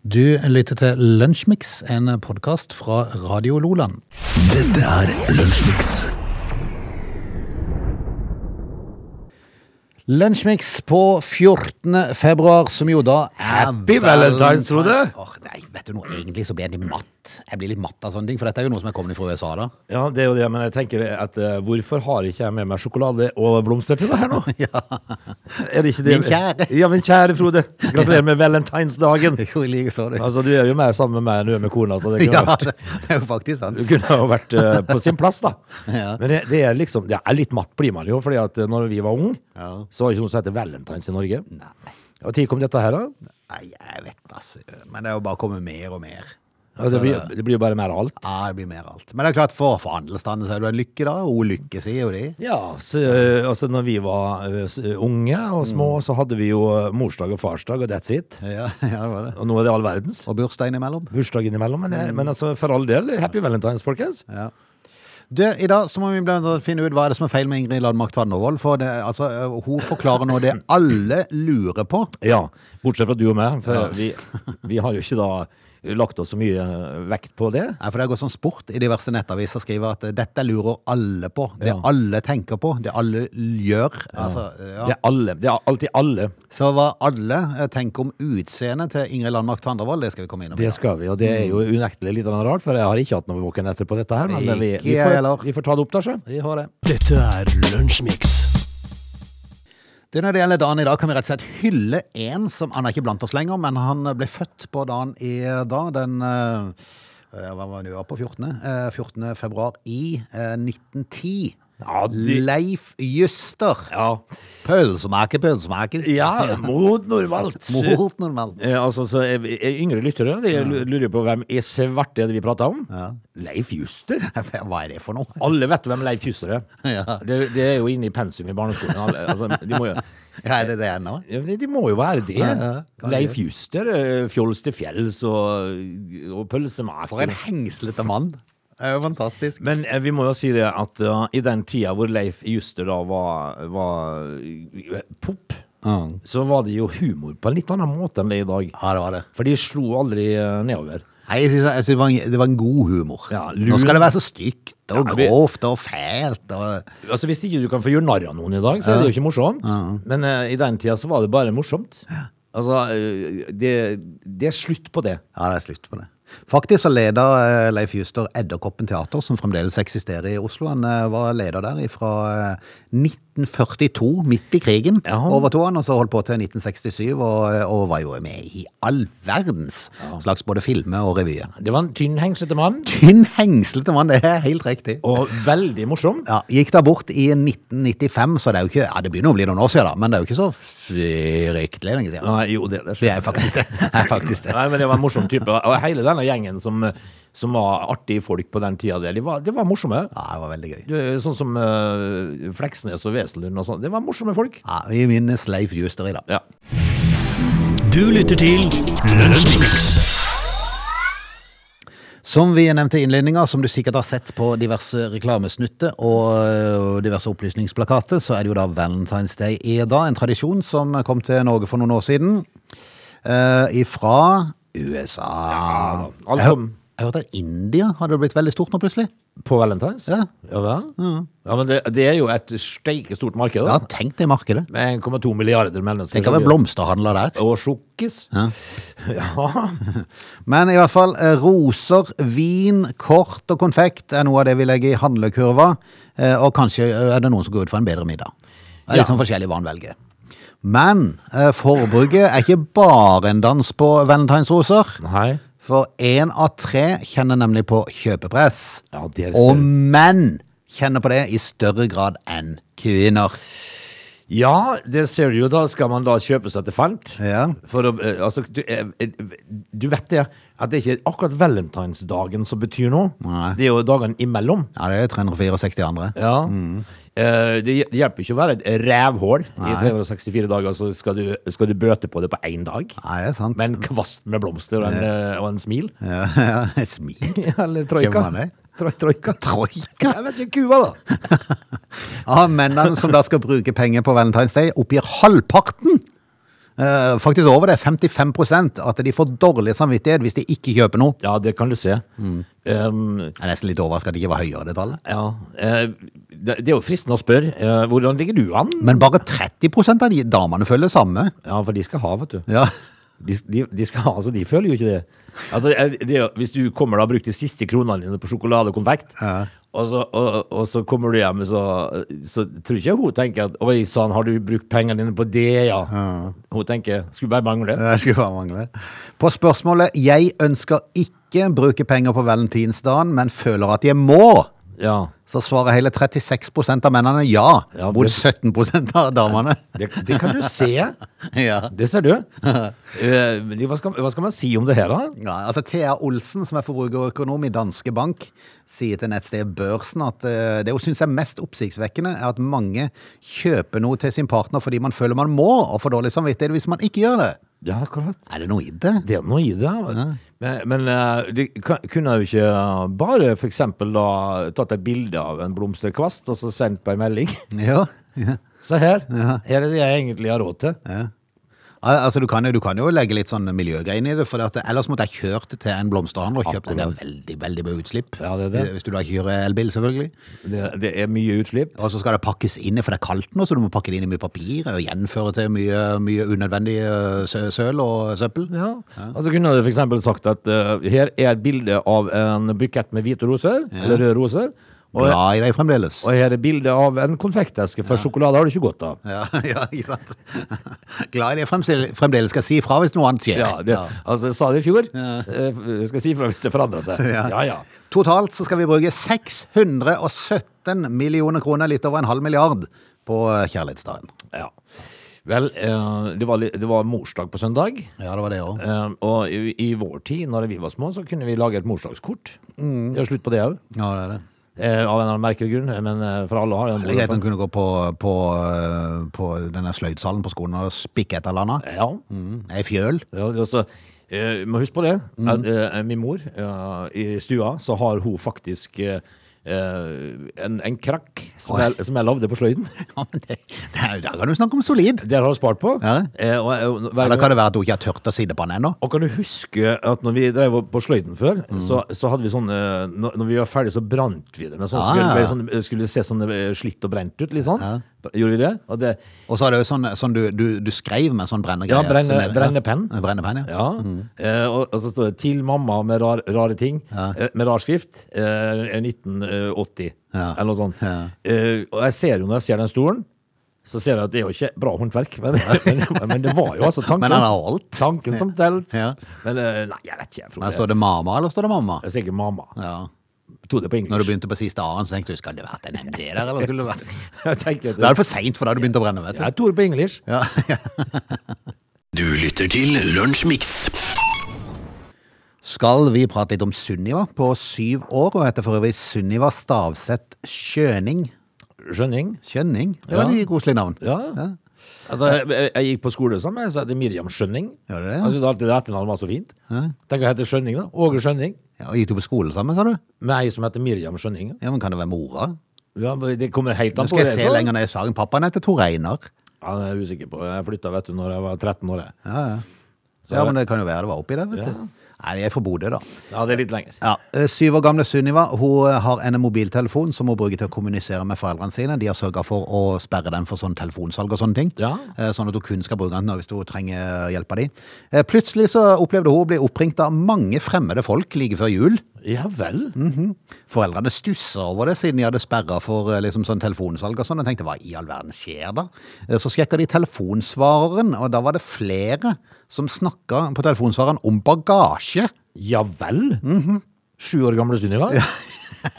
Du lytter til Lunsjmix, en podkast fra Radio Loland. Dette er Lunsjmix. Lunsjmix på 14. februar, som jo da er Happy Valentine's, Frode. Åh, nei, vet du noe, egentlig så blir jeg litt matt. Jeg blir litt matt av sånne ting, for dette er jo noe som er kommet fra USA, da. Ja, det er jo det, men jeg tenker at eh, hvorfor har ikke jeg med meg sjokolade og blomster til deg her nå? Er det ikke det? Min kjære. Ja, min kjære Frode. Gratulerer med valentinsdagen. Jo, i like så, du. Altså, du er jo mer sammen med meg enn du er med kona, så det Ja, kunne, vært, det det er jo faktisk sant. det kunne ha vært eh, på sin plass, da. Ja. Men det, det er liksom, det er litt matt blir man jo, fordi at eh, når vi var ung, Ja. så var det ikke noe som heter valentines i Norge. Nei. Og tid kom dette her, da? Nei, jeg vet altså. Men det er jo bare å komme mer og mer. Ja, det, blir, det blir jo bare mer av alt. Ja, det blir mer alt. Men det er klart, for forhandelsstanden så er det jo en lykke, da. Og lykke, sier jo de. Ja, så, eh, altså når vi var eh, s- unge og små, så hadde vi jo eh, morsdag og farsdag, og that's it. Ja, ja, det var det. Og nå er det all verdens. Og bursdag innimellom. Bursdag innimellom, men, men altså, for all del, happy valentines, folkens. Ja. Du, I dag så må vi blant annet finne ut hva er det som er feil med Ingrid Landmark Tvannervold. For det, altså, ø, hun forklarer nå det alle lurer på. Ja, bortsett fra du og meg, for vi, vi har jo ikke da lagt oss så mye eh, vekt på det. Nei, for Det går sånn sport i diverse nettaviser skriver at ø, dette lurer alle på. Det Ja. alle tenker på, det alle gjør. Altså, ø, Det ja. er alle, det er alltid alle. Så hva alle ø, tenker om utseendet til Ingrid Landmark Tvannervold, det skal vi komme innom. i Det dag. skal vi, og det er jo unektelig litt rart, for jeg har ikke hatt noen våken etter på dette her, men vi, Mm. Ikke vi, jeg heller. får, vi får ta det opp da, så. Vi har det. Dette er Lunsjmix. Det Når det gjelder dagen i dag, kan vi rett og slett hylle en som Han er ikke blant oss lenger, men han ble født på dagen i dag. Den eh, Hva var det vi var på? 14. eh, 14. februar i eh, 1910. Ja, de- Leif Juster. Ja, Pølsemaker, pølsemaker. ja mot normalt. Mot normalt. Eh, altså, så er vi- er yngre lyttere, de lurer på hvem i svarte er det vi prater om. Leif Juster. Hva er det for noe? Alle vet hvem Leif Juster er. Ja. Det, det er jo inne i pensum i barneskolen. Alle- Altså, de, må jo, Ja, er det det ennå? ja, men de må jo være det. ja, kan Leif Juster, eh, fjols til fjells og, For og en pølsemaker. hengslete mann. Det er jo fantastisk. Men eh, vi må jo si det at ja, i den tida hvor Leif Juster da var, var eh, pop, Mm. så var det jo humor på en litt annen måte enn det er i dag. Ja, det var det. For de slo aldri eh, nedover. Nei, jeg synes, jeg synes det, var en, det var en god humor. Ja, lur. Nå skal det være så stygt og Ja, vi- grovt og fælt og Altså Hvis ikke du kan få gjøre narr av noen i dag, så er det jo ikke morsomt. Men eh, i den tida så var det bare morsomt. Altså, eh, det, det er slutt på det. Ja, det er slutt på det. Faktisk så leda eh, Leif Juster Edderkoppen teater, som fremdeles eksisterer i Oslo. Han eh, var leder der fra 1942, midt i krigen, Ja. overtog han, og så holdt på til 1967, og, eh, og var jo med i all verdens slags både filmer og revyer. Det var en tynn, hengslete mann, Tynn, hengslete mann, det er helt riktig. og veldig morsom. Ja, Gikk da bort i 1995, så det er jo ikke Ja, det begynner å bli noen år siden, da, men det er jo ikke så fryktelig lenge siden. Nei, jo, det, det Det skjønner jeg. er faktisk det. det, er faktisk det. Nei, men det var en morsom type. Og hele denne gjengen som, som var artige folk på den tida, der, de var, de var morsomme. Ja, det var veldig gøy. Du, Sånn som eh, Fleksnes og Wesenlund og sånn. Det var morsomme folk. Ja, Vi minnes Leif Juster i dag. Ja. Du lytter til Lunsjmix. Som vi nevnte i innledninga, som du sikkert har sett på diverse reklamesnutter og ø, diverse opplysningsplakater, så er det jo da Valentine's Day er da en tradisjon som kom til Norge for noen år siden. Uh, fra USA. Ja, alt jeg, hør, kom- jeg hørte at India hadde blitt veldig stort nå plutselig. På Valentine's? Ja. Ja vel? Ja, men det, det er jo et steikestort marked, Ja, da. tenk det markedet. Med 1,2 milliarder mennesker. Tenk å være blomsterhandler der. Og sjokkis. Ja. Men i hvert fall, ø, roser, vin, kort og konfekt er noe av det vi legger i handlekurva. ø, Og kanskje ø, er det noen som går ut for en bedre middag. Det er litt Ja. sånn forskjellig hva han velger. Men eh, forbruket er ikke bare en dans på valentinsroser. Nei. For én av tre kjenner nemlig på kjøpepress. Ja, det er Og menn kjenner på det i større grad enn kvinner. ja, det ser du jo. Da skal man da kjøpe seg til fant. Ja. For å, eh, altså, du, eh, eh, du vet det, at det er ikke akkurat valentinsdagen som betyr noe. Nei. Det er jo dagene imellom. Ja, det er 364 andre. Ja. Mm. Eh, det hj- hjelper ikke å være et rævhål i 364 dager, så skal du, skal du bøte på det på én dag. Nei, det er sant. Med en kvast med blomster og en, eh, og en smil. Ja, ja, jeg smil. Eller troika. Kjøper man det? Tro, troika. Troika! Jeg vet ikke, kua, da. Av mennene som da skal bruke penger på Valentine's Day, oppgir halvparten eh, faktisk over det, 55 at de får dårlig samvittighet hvis de ikke kjøper noe. Ja, det kan du se. Mm. Um, Jeg er nesten litt overrasket at det ikke var høyere det tallet. ja. eh, det, det er jo fristende å spørre. eh, hvordan ligger du an? Men bare 30 av de damene følger samme. Ja, for de skal ha, vet du. Ja. De, de, de, skal ha, altså, de føler jo ikke det. Altså, eh, det er jo- hvis du kommer da og bruker de siste kronene dine på sjokolade og konfekt, og, så, og, og så kommer du hjem, så, så tror ikke hun tenker at Oi sann, har du brukt pengene dine på det, ja? Hun tenker Skulle bare mangle. Det skulle bare mangle. På spørsmålet 'Jeg ønsker ikke bruke penger på valentinsdagen, men føler at jeg må', Ja. så svarer hele 36 av mennene ja, Ja, mot det- 17 av damene. Det, det kan du se. Ja. Det ser du. Eh, men hva, skal, hva skal man si om det her, da? Ja, altså Thea Olsen, som er forbrukerøkonom i Danske Bank, sier til nettstedet Børsen at eh, det hun syns er mest oppsiktsvekkende, er at mange kjøper noe til sin partner fordi man føler man må, og får dårlig samvittighet hvis man ikke gjør det. Ja, akkurat. Er det noe i det? Det er noe i det. Men, men eh, de kan- kunne jo ikke bare for eksempel da tatt et bilde av en blomsterkvast og så sendt på en melding. Ja. ja. Se her. Her er det jeg egentlig har råd til. Al- Altså, du kan, jo, du kan jo legge litt sånn miljøgreier inn i det, for at, ellers måtte jeg kjørt til en blomsterhandler og kjøpt det. Det er veldig, veldig mye utslipp. Ja, det er det. Eh, Hvis du da ikke kjører elbil, selvfølgelig. Det, det er mye utslipp. Og så skal det pakkes inn, for det er kaldt nå, så du må pakke det inn i mye papir og gjenføre til mye, mye unødvendig eh, sø- søl og søppel. Ja. Altså kunne du for eksempel sagt at eh, her er et bilde av en bukett med hvite roser, eller røde roser, og, glad i deg fremdeles. og her er bilde av en konfekteske, for sjokolade har du ikke godt av. Ja, ja, ikke sant? Glad i deg fremstil- fremdeles skal si fra hvis noe annet skjer. Ja, det, altså jeg sa det i fjor. Eh, Jeg skal si fra hvis det forandrer seg. Ja. Ja, ja. Totalt så skal vi bruke 617 millioner kroner, litt over en halv milliard, på eh, kjærlighetsdagen. ja. Vel, eh, det var, li- det var morsdag på søndag. Ja, det var det òg. eh, Og i, i vår tid, når vi var små, så kunne vi lage et morsdagskort. Mm. Det er slutt på det òg. Ja, det er det. Av en eller annen merkelig grunn, men eh, for alle har Det er greit det. at han kunne gå på, på, eh, på denne sløydsalen på skolen og spikke et eller annet. Ja. Mm, Ei fjøl. Ja, det er altså, eh, må huske på det. Mm. At, eh, min mor, eh, i stua, så har hun faktisk eh, eh, en, en krakk som Oi. jeg, som jeg lagde på sløyden. Ja, men det, det er, der kan du snakke om solid. Det har hun spart på. Ja. Eh, og, eh, hver Eller gang- kan det være at hun ikke har tørt å sitte på den ennå? Og kan du huske at når vi drev på sløyden før, Mm. så, så hadde vi sånne Når når vi var ferdige, så brant vi det. Men sånn Ah. skulle, det sånn, skulle det se sånn eh, slitt og brent ut, litt sånn. Gjorde vi det? Og det Og så er det jo sånn, sånn du, du, du skrev med sånn brennegreie. Ja, brenne- Sånn, ja. brennepenn. Brennepenn, ja. ja. Eh, og, og så står det 'Til mamma med rar, rare ting', eh, med rar skrift. Eh, 1980, Ja. eller noe sånt. Ja. Eh, og jeg ser jo når jeg ser den stolen, så ser jeg at det er jo ikke bra håndverk, men, men, men det var jo altså tanken. Men han har holdt. Tanken som telt. Ja. Men eh, nei, jeg vet ikke. Jeg, Men Frode. står det mamma, eller står det mamma? jeg sier ikke mamma. Ja. Jeg tror det på engelsk. Når du begynte på siste A-en, så tenkte du skal det vært en MD der, eller skulle det vært Jeg tenker Da at er det for seint, for da har du begynt å brenne, vet du. det er Tore på engelsk. Du lytter til Lunsjmix. Skal vi prate litt om Sunniva på syv år, og heter for øvrig Sunniva Stavseth Skjøning. Skjønning. Skjønning? Det var Ja. et koselig navn. Ja. Altså, jeg, jeg, jeg gikk på skole sammen med så heter Miriam Skjønning. Gjør det det, ja? Jeg syntes alltid det etternavnet var så fint. Tenk å hete Skjønning, da. Åge Skjønning. Ja, og gikk du på skole sammen, sa du? Med ei som heter Miriam Skjønning. Ja, men Kan det være mora? Ja, men det kommer helt Nå an på skal jeg se tror jeg. lenger ned i saken. Pappaen heter Tor Einar. Ja, det er jeg usikker på. Jeg flytta, vet du, når jeg var 13 år. jeg. Ja, ja. ja, men det kan jo være det var oppi der, vet Ja. du. Nei, jeg er fra Bodø, da. Ja, det er litt lenger. Ja, eh, Syv år gamle Sunniva hun eh, har en mobiltelefon som hun bruker til å kommunisere med foreldrene sine. De har sørga for å sperre den for sånn telefonsalg og sånne ting. Ja. Eh, Sånn at hun kun skal bruke den hvis hun trenger hjelp av de. Eh, Plutselig så opplevde hun å bli oppringt av mange fremmede folk like før jul. Ja vel. Foreldrene stussa over det, siden de hadde sperra for eh, liksom, sånn telefonsalg og sånn. Og tenkte hva i all verden skjer da? Eh, Så sjekka de telefonsvareren, og da var det flere som snakka på telefonsvareren om bagasje. Ja vel. Mhm. Sju år gamle Sunniva.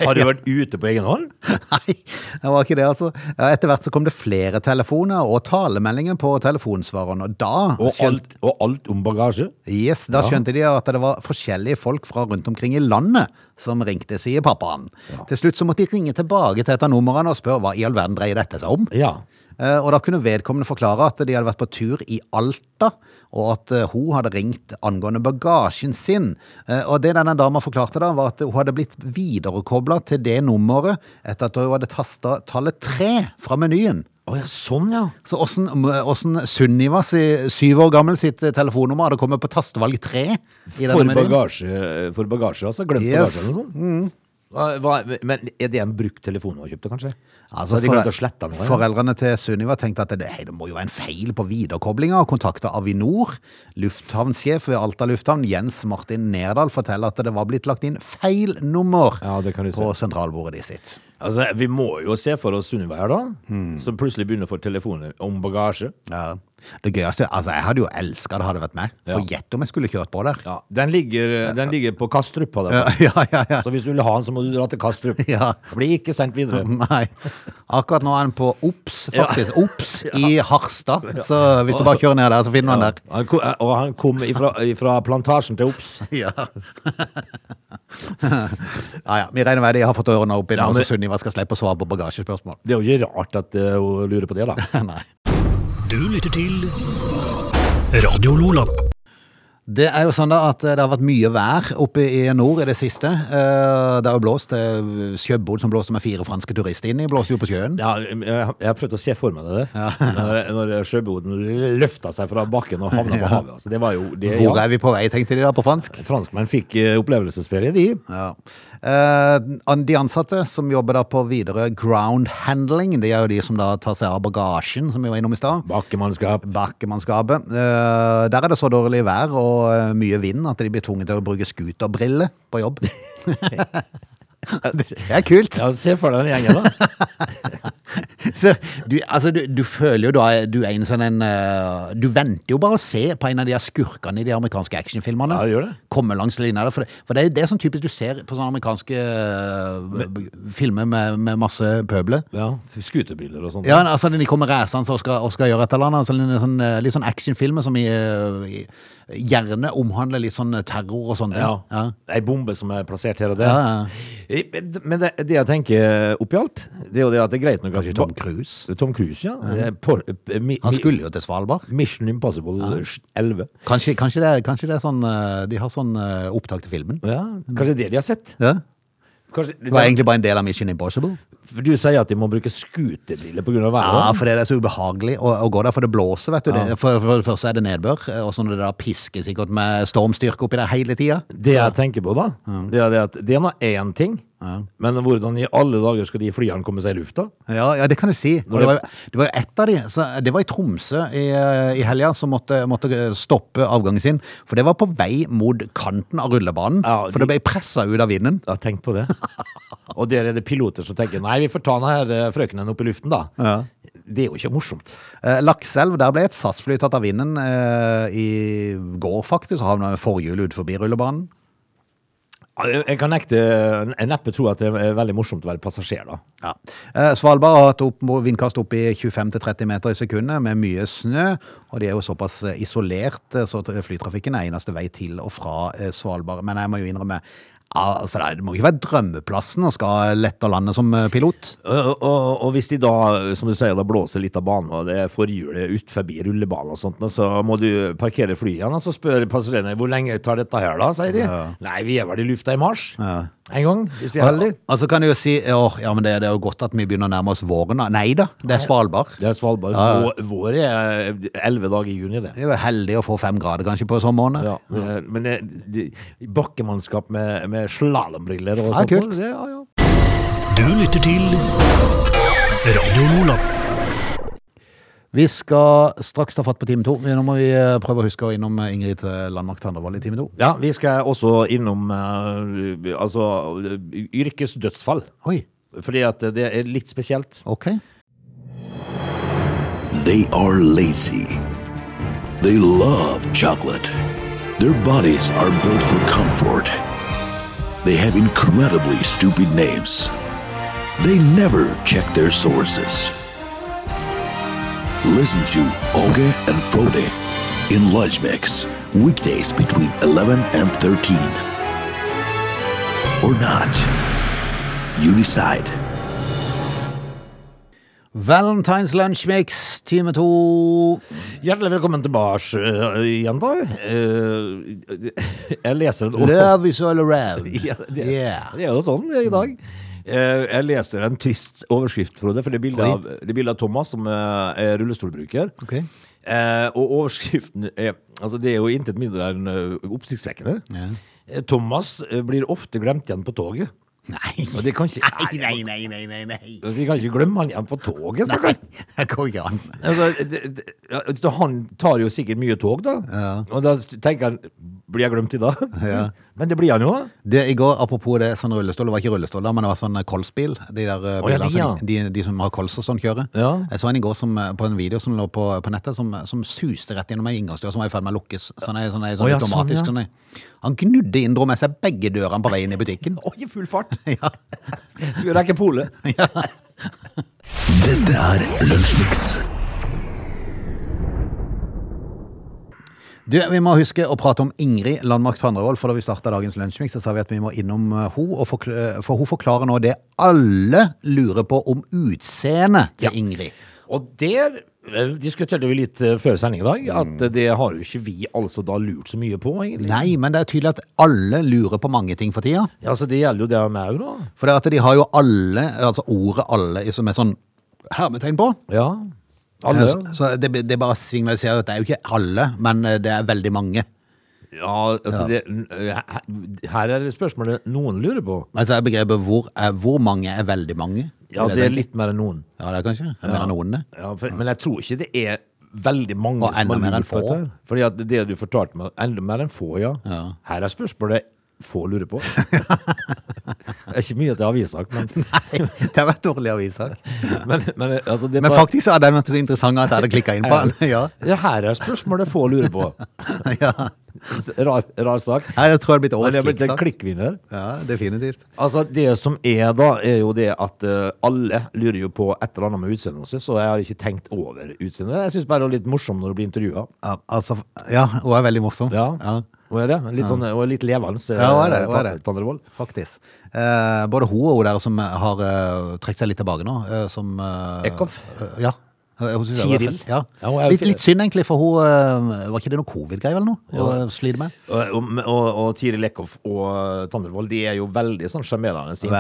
Har du vært ute på egen hånd? Nei, det var ikke det, altså. Ja, Etter hvert så kom det flere telefoner og talemeldinger på telefonsvareren, og da Og skjønte, alt, og alt om bagasje? yes, da skjønte de at det var forskjellige folk fra rundt omkring i landet som ringte, sier pappaen. Til slutt så måtte de ringe tilbake til et av numrene og spørre hva i all verden dreier dette seg om. Ja. Eh, Og da kunne vedkommende forklare at de hadde vært på tur i Alta, og at eh, hun hadde ringt angående bagasjen sin. Eh, Og det denne dama forklarte da, var at hun hadde blitt viderekobla til det nummeret etter at hun hadde tasta tallet tre fra menyen. Å ja, sånn, ja. Så åssen- åssen Sunniva, si, syv år gammel, sitt eh, telefonnummer hadde kommet på tastevalg tre? i denne For menyen? bagasje, for bagasje, altså. Glemt Yes. bagasje eller noe sånt. sånn. Hva- Hva, men er det en brukt telefon hun har kjøpt, kanskje? Altså, Så de fore- glemte å slette noe? ja. Foreldrene til Sunniva tenkte at det, hei, det må jo være en feil på viderekoblinga, og kontakta Avinor. Lufthavnsjef ved Alta lufthavn, Jens Martin Nerdal, forteller at det var blitt lagt inn feil nummer Ja, det kan du på sentralbordet de sitt. Altså, vi må jo se for oss Sunniva her, da. Som plutselig begynner å få telefoner om bagasje. Ja. Det gøyeste Altså, jeg hadde jo elska det hadde vært meg. For gjett om jeg skulle kjørt på der. Ja, den ligger, den ligger på Kastrup. På den. Ja, ja, ja. ja. Så hvis du vil ha den, så må du dra til Kastrup. Ja. Mm. Det Blir ikke sendt videre. Nei. Akkurat nå er han på OBS, faktisk. OBS i Harstad. Så hvis du bare kjører ned der, så finner du han der. Han ko- eh, og han kom ifra, ifra plantasjen til Ops. Ja. ja, ja. Vi regner med de har fått ørene opp i nå, Ja, men- så Sunniva skal slippe å svare på bagasjespørsmål. Det er jo ikke rart at eh, hun lurer på det, da. Nei. Du lytter til Radio Lola. Det er jo sånn da at det har vært mye vær oppe i nord i det siste. Eh, Det har jo blåst. eh, Sjøbod som blåste med fire franske turister inn i, blåste jo på sjøen. Ja, jeg, jeg har prøvd å se for meg det der. Når, når sjøboden løfta seg fra bakken og havna på havet. Altså, det var jo det, Hvor ja. er vi på vei, tenkte de da på fransk. Franskmenn fikk eh, opplevelsesferie, de. Ja. Eh, an- De ansatte som jobber da på videre ground handling, det er jo de som da tar seg av bagasjen, som vi var innom i stad. Bakkemannskap. Bakkemannskapet. Eh, Der er det så dårlig vær og eh, mye vind at de blir tvunget til å bruke skuterbriller på jobb. det er kult. Ja, se for deg den gjengen, da. Så du, altså, du, du føler jo da du er en sånn en eh, Du venter jo bare å se på en av de her skurkene i de amerikanske actionfilmene. Ja, det gjør det. Komme langs linja der. For, det, for det, er- det er sånn typisk du ser på sånne amerikanske eh, b- filmer med, med masse pøbler. Ja, Skuterbiler og sånt. Ja, altså De kommer reisende og skal, og skal gjøre et eller annet. Altså, litt sånn, eh, litt sånn actionfilmer som i, eh, i- gjerne omhandler litt sånn terror og sånne ting. Ja. Ja. Ei bombe som er plassert her og der. Eh, Ja, Men det, det jeg tenker oppi alt, det er jo det at det er greit nok at Kanskje Tom Cruise. Tom Cruise, ja. Det er Por, eh, mi, Han skulle jo til Svalbard. mi- Mission Impossible 11. Kanskje, kanskje, det, er- kanskje det er sånn eh, De har sånn eh, opptak til filmen. Ja, kanskje det de har sett? Ja. Kanskje, Det var egentlig bare en del av Mission Impossible. For Du sier at de må bruke skuterbiler pga. Ja, været? for det er så ubehagelig å, å gå der, for det blåser, vet du. Det, for, for det første er det nedbør, eh, og så når det da pisker sikkert med stormstyrke oppi der hele tida. det jeg tenker på, da, det er det at det er nå én ting, men hvordan i alle dager skal de flyene komme seg i lufta? Ja, ja, det kan du si. Og det var, jo- det var jo ett av de, så det var i Tromsø i, eh, i helga, som måtte, måtte stoppe avgangen sin. For det var på vei mot kanten av rullebanen, Ja, for det ble pressa ut av vinden. Ja, tenk på det. Og der er det piloter som tenker nei, vi får ta den her eh, frøkenen opp i luften, da. Det er jo ikke morsomt. Eh, Lakselv, der ble et SAS-fly tatt av vinden eh, i går, faktisk. Og havna med forhjul ut forbi rullebanen. Ja, Jeg jeg kan nekte, jeg neppe tro at det er veldig morsomt å være passasjer, da. Ja. Eh, Svalbard har hatt opp, vindkast opp i 25-30 meter i sekundet med mye snø, og de er jo såpass eh, isolert, eh, så t- flytrafikken er eneste vei til og fra eh, Svalbard. Men jeg må jo innrømme, al- altså det er- det må ikke være drømmeplassen å skal lette landet som eh, pilot. Og, og, og hvis de da, som du sier, da blåser litt av banen, og det er forhjulet ut forbi rullebanen og sånt, nå, så må du parkere flyet igjen, og så spør passasjerene hvor lenge tar dette her, da, sier de. Nei, vi er vel i lufta i mars. En gang, hvis vi er heldige. Altså kan du jo si, åh, ja, men det, det er jo godt at vi begynner å nærme oss våren. da. Nei da, det er Svalbard. Det er Svalbard. Vår, vår er elleve dager i juni, det. Det er jo heldig å få fem grader kanskje på sommeren. Ja, det- Men det, det, bakkemannskap med, med slalåmbriller og Ja, sånt. kult. Det, ja, ja. Du lytter til Radio Lola. Vi skal straks ta fatt på time to. Nå må vi eh, prøve å huske å innom eh, Ingrid eh, Landmark Tandrevold i time to. Ja, vi skal også innom eh, altså, eh, yrkesdødsfall. Oi, Fordi at det er litt spesielt. ok. They are lazy. They love chocolate. Their bodies are built for comfort. They have incredibly stupid names. They never check their sources. Listen to Oge and Frode in Lunch Mix, weekdays between 11 and 13. Or not. You decide. Valentines Lunchmix, time to. Hjertelig velkommen tilbake eh, igjen, da. Eh, jeg leser en Love is all around. Ja, det, Yeah. Mm. det er jo sånn i dag. Eh, Jeg leser en trist overskrift, Frode, for det er bilde Oi. av, det er bilde av Thomas, som eh, er rullestolbruker. Ok. Eh, og overskriften er Altså, det er jo intet mindre enn eh, oppsiktsvekkende. Eh, Thomas eh, blir ofte glemt igjen på toget. Nei. Og det kan ikke- Nei, nei, nei, nei, nei. Altså, jeg kan ikke glemme han igjen på toget. Nei, stakkar. det går ikke an. Altså, det, det, ja, så han tar jo sikkert mye tog, da. Og da tenker han Blir jeg glemt i dag? Ja. Men det blir han jo. da. Det, I går, apropos det, sånn rullestol, det var ikke rullestol, da, men det var sånn eh, kolsbil. De der eh, Å, ja, bilene de, ja. som de, de, de som har kols og sånn, kjører. Ja. Jeg så en i går som, eh, på en video som lå på, på nettet, som, som suste rett gjennom en inngangsdør som var i ferd med å lukkes. Sånn, er- sånn, er- sånn Å, ja, automatisk. sånn, Sånn, er. Han gnudde Indro med seg begge dørene på veien i butikken. Oi, i full fart! Ja. Skulle rekke polet. Dette er Lunsjmix. Du, Vi må huske å prate om Ingrid Landmark Tandrevold, for da vi starta dagens Lunsjmix, så sa vi at vi må innom eh, henne. For hun forklarer nå det alle lurer på om utseendet til Ingrid. Og der eh, diskuterte vi litt eh, før sending i dag, at eh, det har jo ikke vi altså da lurt så mye på, egentlig. Nei, men det er tydelig at alle lurer på mange ting for tida. Ja, så det gjelder jo det med au, da. For det er at de har jo alle, altså ordet alle, som er sånn hermetegn på. Ja. Alle. Så, så det, det bare signaliserer at det er jo ikke alle, men eh, det er veldig mange. Ja, altså det eh, Her er det spørsmålet noen lurer på. Men så er begrepet hvor, er, hvor mange er veldig mange. Ja, det er litt mer enn noen. Ja, det er kanskje. Det er mer enn noen, det. Ja, for, men jeg tror ikke det er veldig mange Og enda mer enn lurt på få. dette. Fordi at det du fortalte meg, enda mer enn få, ja. Her er spørsmålet få lurer på. det er ikke mye til avissak, men, Nei, det har vært dårlig aviser. men, men altså det er Men bare- faktisk så hadde den vært så interessant at jeg hadde klikka inn på den. Ja. Ja, her er spørsmålet få lurer på. ja. Rar, rar sak. Nei, Jeg tror det hadde blitt Men årets det er blitt en klikksak. klikkvinner. Ja, definitivt. Altså, det som er da, er jo det at eh, alle lurer jo på et eller annet med utseendet hennes, så jeg har ikke tenkt over utseendet. Jeg syns bare det er litt morsomt når du blir intervjua. Ja, altså, ja, hun er veldig morsom. Ja. Hun er det. Litt sånn, hun er litt levende. eh, Ja, hun er det, hun er det. Tandrevold. Faktisk. Eh, både hun og hun der som har eh, trukket seg litt tilbake nå, eh, som eh, Eckhoff? eh, ja. Eh, hun synes det var Tiril? fest. Ja. Ja, hun er jo litt, fin- litt synd, egentlig, for hun eh, Var ikke det noe covid-greier eller noe? Hun eh, sliter med. Og, og, og, og Tiril Eckhoff og Tandrevold de er jo veldig sånn sjarmerende i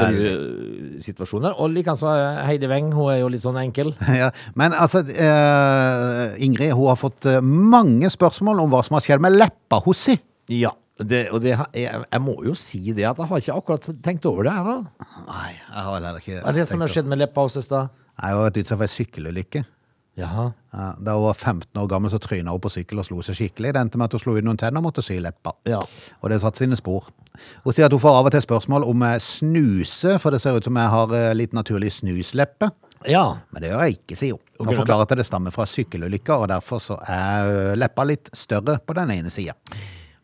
intervjusituasjoner. Og likeens eh, Heidi Weng, hun er jo litt sånn enkel. ja. Men altså, eh, Ingrid hun har fått eh, mange spørsmål om hva som har skjedd med leppa hos si. Ja. Det, og det, har- jeg, jeg må jo si det, at jeg har ikke akkurat tenkt over det her, da. Nei, jeg har vel heller ikke Hva er det som har tenkt skjedd med leppa hos oss, da? over- Nei, Hun har vært utsatt for ei sykkelulykke. Jaha. Ja, da hun var 15 år gammel, så tryna hun på sykkel og slo seg skikkelig. Det endte med at hun slo ut noen tenner og måtte sy leppa. Ja. Og det satte sine spor. Hun sier at hun får av og til spørsmål om jeg snuser, for det ser ut som jeg har eh, litt naturlig snusleppe. Ja. Men det gjør jeg ikke, sier hun. Hun Ok, forklarer at det stammer fra sykkelulykker, og derfor så er eh, leppa litt større på den ene sida.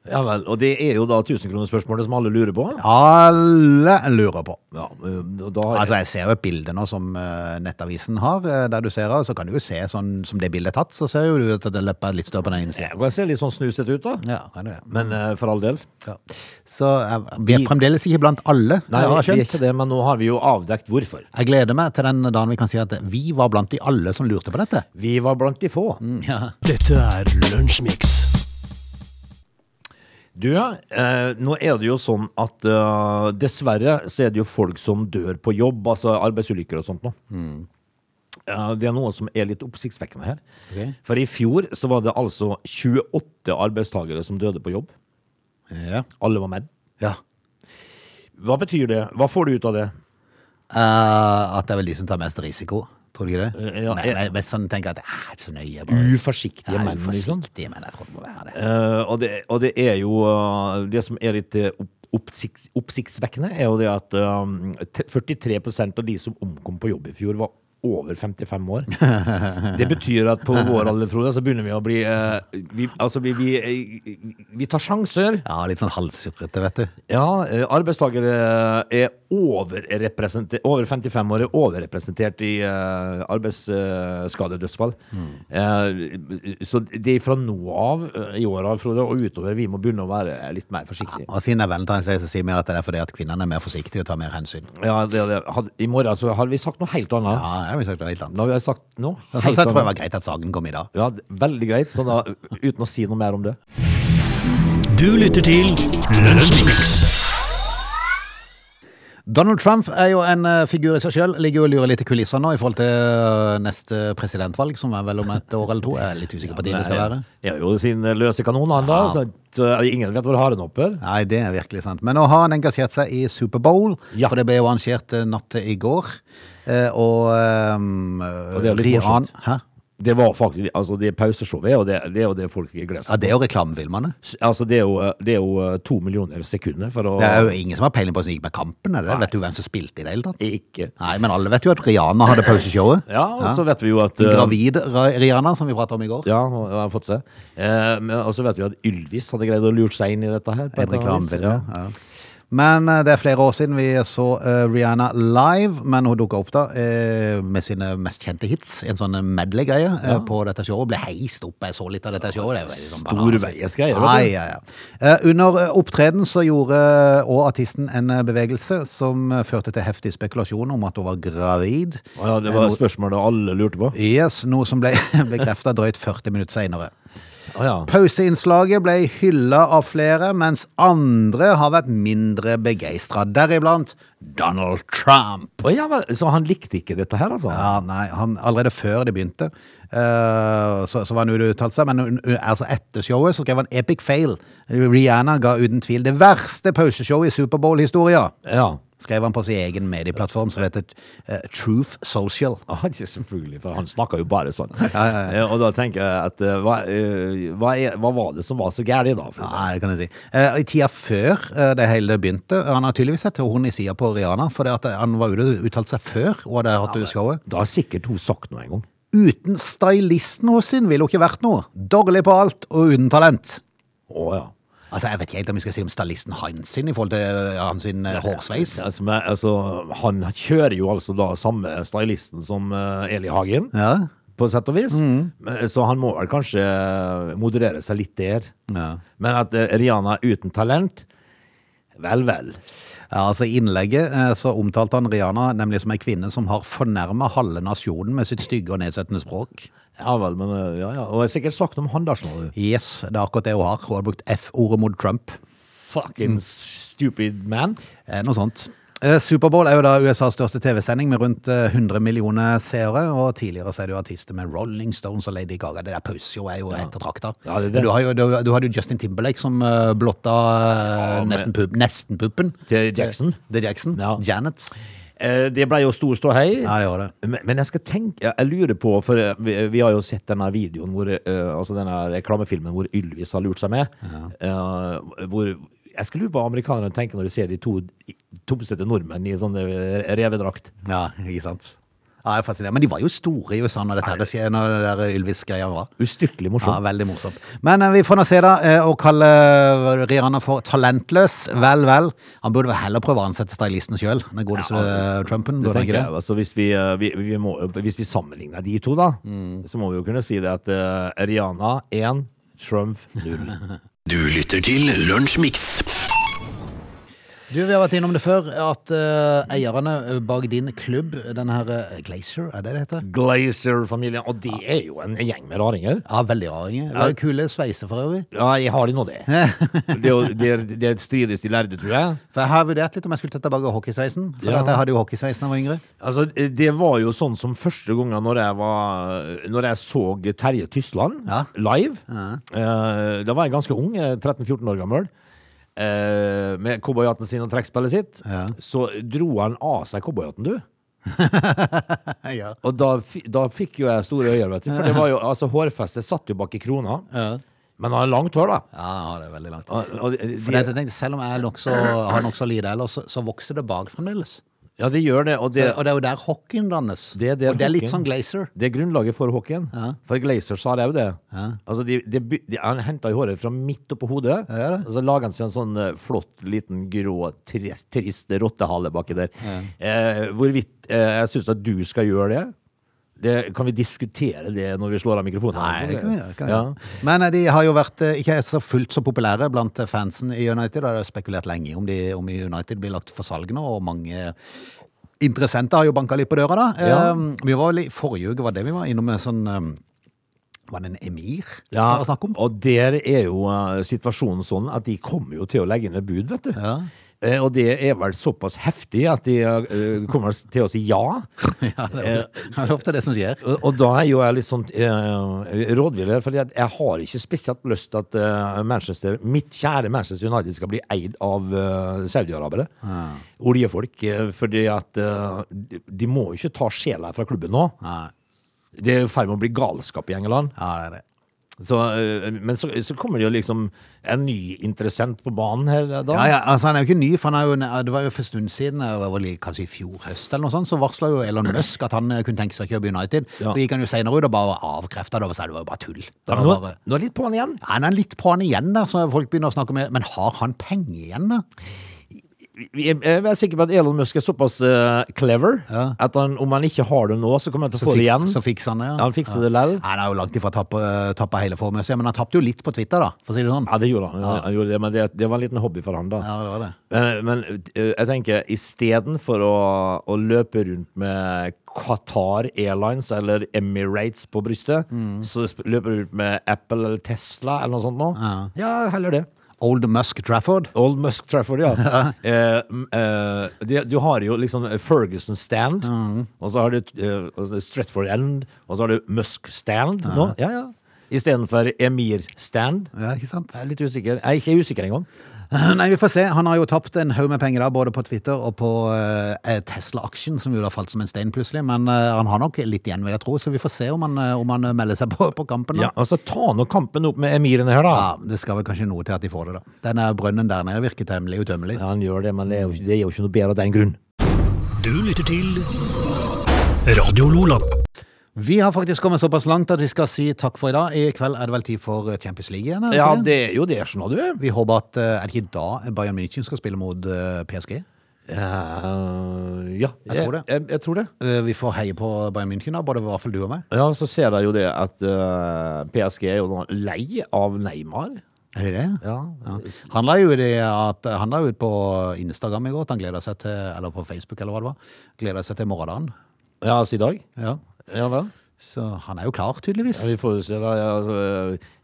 ja vel. Og det er jo da 1000-kronerspørsmålet som alle lurer på. Alle lurer på. Ja, eh, og da Altså, jeg ser jo et bilde nå som eh, Nettavisen har, eh, der du ser henne. Så kan du jo se sånn som det bildet er tatt, så ser jo du at det leppa er litt større på den ene sida. Jeg kan se litt sånn snusete ut, da. Ja, kan du det. Men eh, for all del. Ja. Så eh, vi er fremdeles ikke blant alle, Nei, jeg har vi er skjønt. ikke det, men nå har vi jo avdekt hvorfor. Jeg gleder meg til den dagen vi kan si at vi var blant de alle som lurte på dette. Vi var blant de få. Dette er Lunsjmix. Du, eh, nå er det jo sånn at eh, dessverre så er det jo folk som dør på jobb, altså arbeidsulykker og sånt nå. Eh, det er noe som er litt oppsiktsvekkende her. Ok. For i fjor så var det altså 28 arbeidstagere som døde på jobb. Ja. Alle var menn. ja. Hva betyr det? Hva får du ut av det? Eh, at det er vel de som tar mest risiko, tror du ikke det? Eh, ja, nei, jeg- nei, men sånn tenker jeg at det er ikke så nøye. Bare. Uforsiktige Nei, menn, liksom. forsiktige menn, jeg tror det må være det. Eh, og, det, og det er jo eh, Det som er litt eh, opp- oppsikts, oppsiktsvekkende, er jo det at eh, t- 43 av de som omkom på jobb i fjor, var over 55 år. Det betyr at på vår alder, Frode, så begynner vi å bli eh, vi, Altså, vi, vi, eh, vi tar sjanser. Ja, litt sånn halssurrete, vet du. Ja, eh, arbeidstakere er overrepresentert Over 55 år er overrepresentert i eh, arbeidsskadedødsfall. Eh, så det er fra nå av eh, i år av, Frode, og utover, vi må begynne å være litt mer forsiktige. Og siden det er valentinsdag, så sier vi at det er fordi at kvinnene er mer forsiktige og tar mer hensyn. Ja, det, det. Had, I morgen så har vi sagt noe helt annet. Ja, jeg vil sagt det er litt Da annet. har vi sagt noe Så helt jeg tror det annet. var greit at saken kom i dag. Ja, det- veldig greit, så da, uten å si noe mer om det. Du lytter til Lunsjmix. Donald Trump er jo en eh, figur i seg sjøl. Ligger jo og lurer litt i kulissene nå i forhold til eh, neste presidentvalg, som er vel om et år eller to. Jeg er litt usikker på når det skal være. Ja, Eh, jo sin løse kanon, han da. Ja. Så at, eh, ingen vet hvor haren hopper. Nei, det er virkelig sant. Men nå har han engasjert seg i Superbowl, Ja. for det ble jo arrangert eh, natt til i går. Eh, Og, um, Og det er jo litt morsomt. Hæ? Det var faktisk altså det pauseshowet, og det, det er jo det folk Ja, gleder seg til. det er jo reklamefilmene. Altså, det er jo, eh, det er jo eh, to millioner sekunder for å Det er jo ingen som har peiling på hvordan det gikk med kampen. Er det? Nei. Vet du hvem som spilte i det hele tatt? Ikke Nei, men alle vet jo at Rihanna hadde pauseshowet. Ja, og så vet vi jo at eh, Gravid Ra- Rihanna, som vi pratet om i går. Ja, og- og jeg har fått se. Eh, men, og så vet vi at Ylvis hadde greid å lure seg inn i dette her. på et En eller annet vis. reklamevideo. Ja. Men eh, det er flere år siden vi så eh, Rihanna live, men hun dukka opp da eh, med sine mest kjente hits. En sånn medley-greie eh, på dette showet. Ble heist opp, jeg så litt av dette showet. Det er jo veldig sånn Store bananas. veiesgreier, vet du. Ai, ja, ja. Eh, Under eh, opptreden så gjorde òg artisten en eh, bevegelse som eh, førte til heftig spekulasjon om at hun var gravid. Å ja, det var Eh, noe- spørsmålet alle lurte på. Yes, noe som ble bekrefta drøyt 40 minutter seinere. Å ja. Pauseinnslaget ble hylla av flere, mens andre har vært mindre begeistra, deriblant Donald Trump. Å ja, vel, så han likte ikke dette her, altså? Ja, nei, han, Allerede før det begynte, eh, så, så var han ute og uttalte seg, men un- un- altså etter showet så skrev han epic fail. Rihanna ga uten tvil det verste pauseshowet i Superbowl-historia, Ja. skrev han på sin egen medieplattform som heter eh, Truth Social. Ah, ikke selvfølgelig, for han snakka jo bare sånn. Eh, Og da tenker jeg at eh, hva, eh, hva, er, hva var det som var så gærent da? Frode? Ja, det kan jeg si. Eh, I tida før eh, det hele begynte Han har tydeligvis sett hun i sida på Rihanna, for det at eh, han var ute og uttalte seg før hun hadde hatt showet. Da har sikkert hun sagt noe en gang. Uten stylisten hos sin ville hun ikke vært noe. Dårlig på alt og uten talent. Å ja. Altså, Jeg vet ikke helt om vi skal si om stylisten hans sin i forhold til eh, hans sin eh, hårsveis. Altså, men, altså, han kjører jo altså da samme stylisten som eh, Eli Hagen, Ja. Mm. på sett og vis. Men- Så han må vel kanskje eh, moderere seg litt der. Ja. Men at eh, Rihanna er uten talent Vel, vel. Ja, altså I innlegget eh, så omtalte han Rihanna nemlig som ei kvinne som har fornærma halve nasjonen med sitt stygge og nedsettende språk. Ja vel, men eh, ja, ja. Og jeg har sikkert sagt noe om han, da. skjønner du. Yes, det er akkurat det hun har. Hun har brukt F-ordet mot Trump. Fucking Mm. stupid man. Eh, Noe sånt. Eh, Superbowl er jo da USAs største TV-sending med rundt eh, 100 millioner seere. Og tidligere så er det jo artister med Rolling Stones og Lady Gaga. Det der pauseshowet er jo ettertrakta. Ja, det er det. Men Du, har jo- du, du hadde jo Justin Timberlake som eh, blotta eh, Ja, men- nesten, pup, nesten puppen. Til Jackson. The Jackson. Ja. Janet. Eh, Det ble jo stor ståhei. Ja, det var det. Men, men jeg skal tenke Jeg lurer på, for eh, vi, vi har jo sett denne videoen hvor, eh, Altså denne reklamefilmen hvor Ylvis har lurt seg med. Eh, hvor Jeg skal lure på hva amerikanerne tenker når de ser de to tomsete nordmenn i sånn eh, revedrakt. Ja, ikke sant. Ja, det er fascinerende. Men de var jo store i USA når dette her skjer, når det der Ylvis-greia var. Ustyrtelig Ja, morsomt. veldig morsomt. Men eh, vi får nå se, da. eh, Å kalle eh, Rihanna for talentløs, vel, vel. Han burde vel heller prøve å ansette stylisten sjøl, den godeste eh, Trumpen. Det Burde han tenker ikke jeg, det? altså hvis, vi, eh, vi, vi må, hvis vi sammenligner de to, da, Mm. så må vi jo kunne si det at eh, Rihanna 1, Trump 0. Du lytter til Lunsjmix. Du, Vi har vært innom det før, at eh, eierne bak din klubb, den her eh, Glacier, er det det heter? Glazer-familien. Og det er jo en gjeng med raringer. Ja, veldig raringer. Veldig Kule sveiser for øvrig. Ja, jeg har de nå det. Det, er jo- det, er- det strides de lærde, tror jeg. For jeg har vurdert litt om jeg skulle ta tilbake hockeysveisen. For Ja. at jeg hadde jo hockeysveisen da jeg var yngre. Altså, det var jo sånn som første gangen når jeg, var, når jeg så Terje Tysland Ja. live. Eh, da var jeg ganske ung, eh, 13-14 år gammel. Eh, med cowboyhatten sin og trekkspillet sitt. Ja. Så dro han av seg cowboyhatten, du. Ja. Og da, fi- da fikk jo jeg store øyne, vet du. For det var jo, altså, hårfestet satt jo bak i krona. Men han har langt hår, da. Ja, det er veldig langt. Og, og de, For det, at jeg tenkte, selv om jeg er nok så, har nokså lite ellers, så, så vokser det bak fremdeles. ja, de gjør det. Og det, Og det er jo der hockeyen dannes. Det er der og det er litt hockeyen- sånn Glacier. Det er grunnlaget for hockeyen. For Glazers har òg det. Altså de, de, by- de, han henta jo håret fra midt oppå hodet, det. og så lager han seg en sånn eh, flott, liten, grå, trist, trist rottehale baki der. Eh, hvorvidt eh, jeg syns at du skal gjøre det, det Kan vi diskutere det når vi slår av mikrofonen? Nei, det kan vi gjøre. det Kan vi Ja. gjøre. Men eh, de har jo vært eh, ikke så fullt så populære blant eh, fansen i United. og Det er spekulert lenge om, de, om United blir lagt for salg nå, og mange interessenter har jo banka litt på døra, da. Ja. Eh, Vi var vel i forrige uke, var det vi var innom en sånn eh, Var det en emir Ja, som det var snakk om? og der er jo eh, situasjonen sånn at de kommer jo til å legge ned bud, vet du. Ja. Eh, Og det er vel såpass heftig at de eh, kommer til å si ja. Ja, det er det er ofte det som skjer. Og og da er jo jeg litt sånn eh, rådvill her, for jeg, jeg har ikke spesielt lyst til at eh, Manchester, mitt kjære Manchester United skal bli eid av eh, saudiarabere. Ah. Oljefolk. eh, fordi at eh, de- de må jo ikke ta sjela fra klubben nå. Nei. Det er i ferd med å bli galskap i England. Ja, det er det. Så, eh, men så, så kommer det jo liksom en ny interessent på banen her da. Ja, ja, altså Han er jo ikke ny, for han er jo, en- det var jo for en stund siden, det var vel i- kanskje i fjor høst, eller noe sånt, så varsla jo Elon Musk at han eh, kunne tenke seg å kjøpe United. Ja. Så gikk han jo senere ut og bare avkrefta det og sa det var jo bare tull. Det Ja, var men nå, bare, nå er jeg litt på han igjen. han er litt på han igjen, der, så folk begynner å snakke om det. Men har han penger igjen, da? Jeg eh, jeg er sikker på at Elon Musk er såpass eh, clever Ja. at han, om han ikke har det nå, så kommer han til å Så, få det fiks- igjen. så fikser han det, ja. Han fikser det lell. Nei, Han er jo langt ifra tappa tappa hele formuen sin, men han tapte jo litt på Twitter, da, for å si det sånn. Ja, det gjorde han. han gjorde det, men det, det var en liten hobby for han, da. Ja, det var det. Men, men eh, jeg tenker, istedenfor å, å løpe rundt med Qatar Airlines eller Emirates på brystet, så sp- løper du rundt med Apple eller Tesla eller noe sånt nå. Ja, heller det. Old Musk Trafford. Old Musk Trafford, ja. Eh, m- eh, de, du har jo liksom Ferguson Stand, og så har du eh, og så er det Stratford End, og så har du Musk Stand nå. Ja, ja. Istedenfor Emir Stand. Ja, ikke sant? Jeg er litt usikker. Jeg er ikke usikker engang. Nei, vi får se. Han har jo tapt en haug med penger da, både på Twitter og på eh, Tesla-aksjen, som jo da falt som en stein plutselig. Men eh, han har nok litt igjen, vil jeg tro, så vi får se om han, eh, om han eh, melder seg på, på kampen. Ja, Da. altså Ta nå kampen opp med emirene her, da. Ja, det skal vel kanskje noe til at de får det, da. Den eh, brønnen der nede virker temmelig utømmelig. Ja, han gjør det, men det er, jo, ikke- det er jo ikke noe bedre av den grunn. Du lytter til Radio Lola. Vi har faktisk kommet såpass langt at vi skal si takk for i dag. I kveld er det vel tid for eh, Champions League igjen? er det Ja, ikke det? det er jo det, skjønner du. Vi håper at eh, Er det ikke da Bayern München skal spille mot eh, PSG? Eh, ja, Jeg tror det. Jeg, jeg tror det. Eh, Vi får heie på Bayern München, da, både i hvert fall du og meg. Ja, så ser jeg jo det at eh, PSG er jo nå lei av Neymar. Er det det? Ja, Han la jo, det at, eh, han la ut på Instagram i går at han gleder seg til Eller på Facebook, eller hva det var. Gleder seg til morgendagen. ja altså i dag. Ja. Ja vel. Så han er jo klar, tydeligvis. Ja, vi får jo se, da. Ja, altså,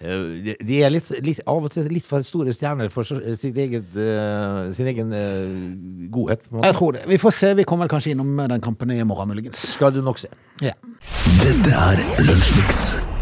eh, de- de er litt, litt, av og til litt for store stjerner for så- sitt eget, eh, sin egen eh, godhet. På en måte. Jeg tror det. Vi får se. Vi kommer vel eh, kanskje innom den kampen i morgen, muligens. Skal du nok se. Ja. Dette er Lunsjmix.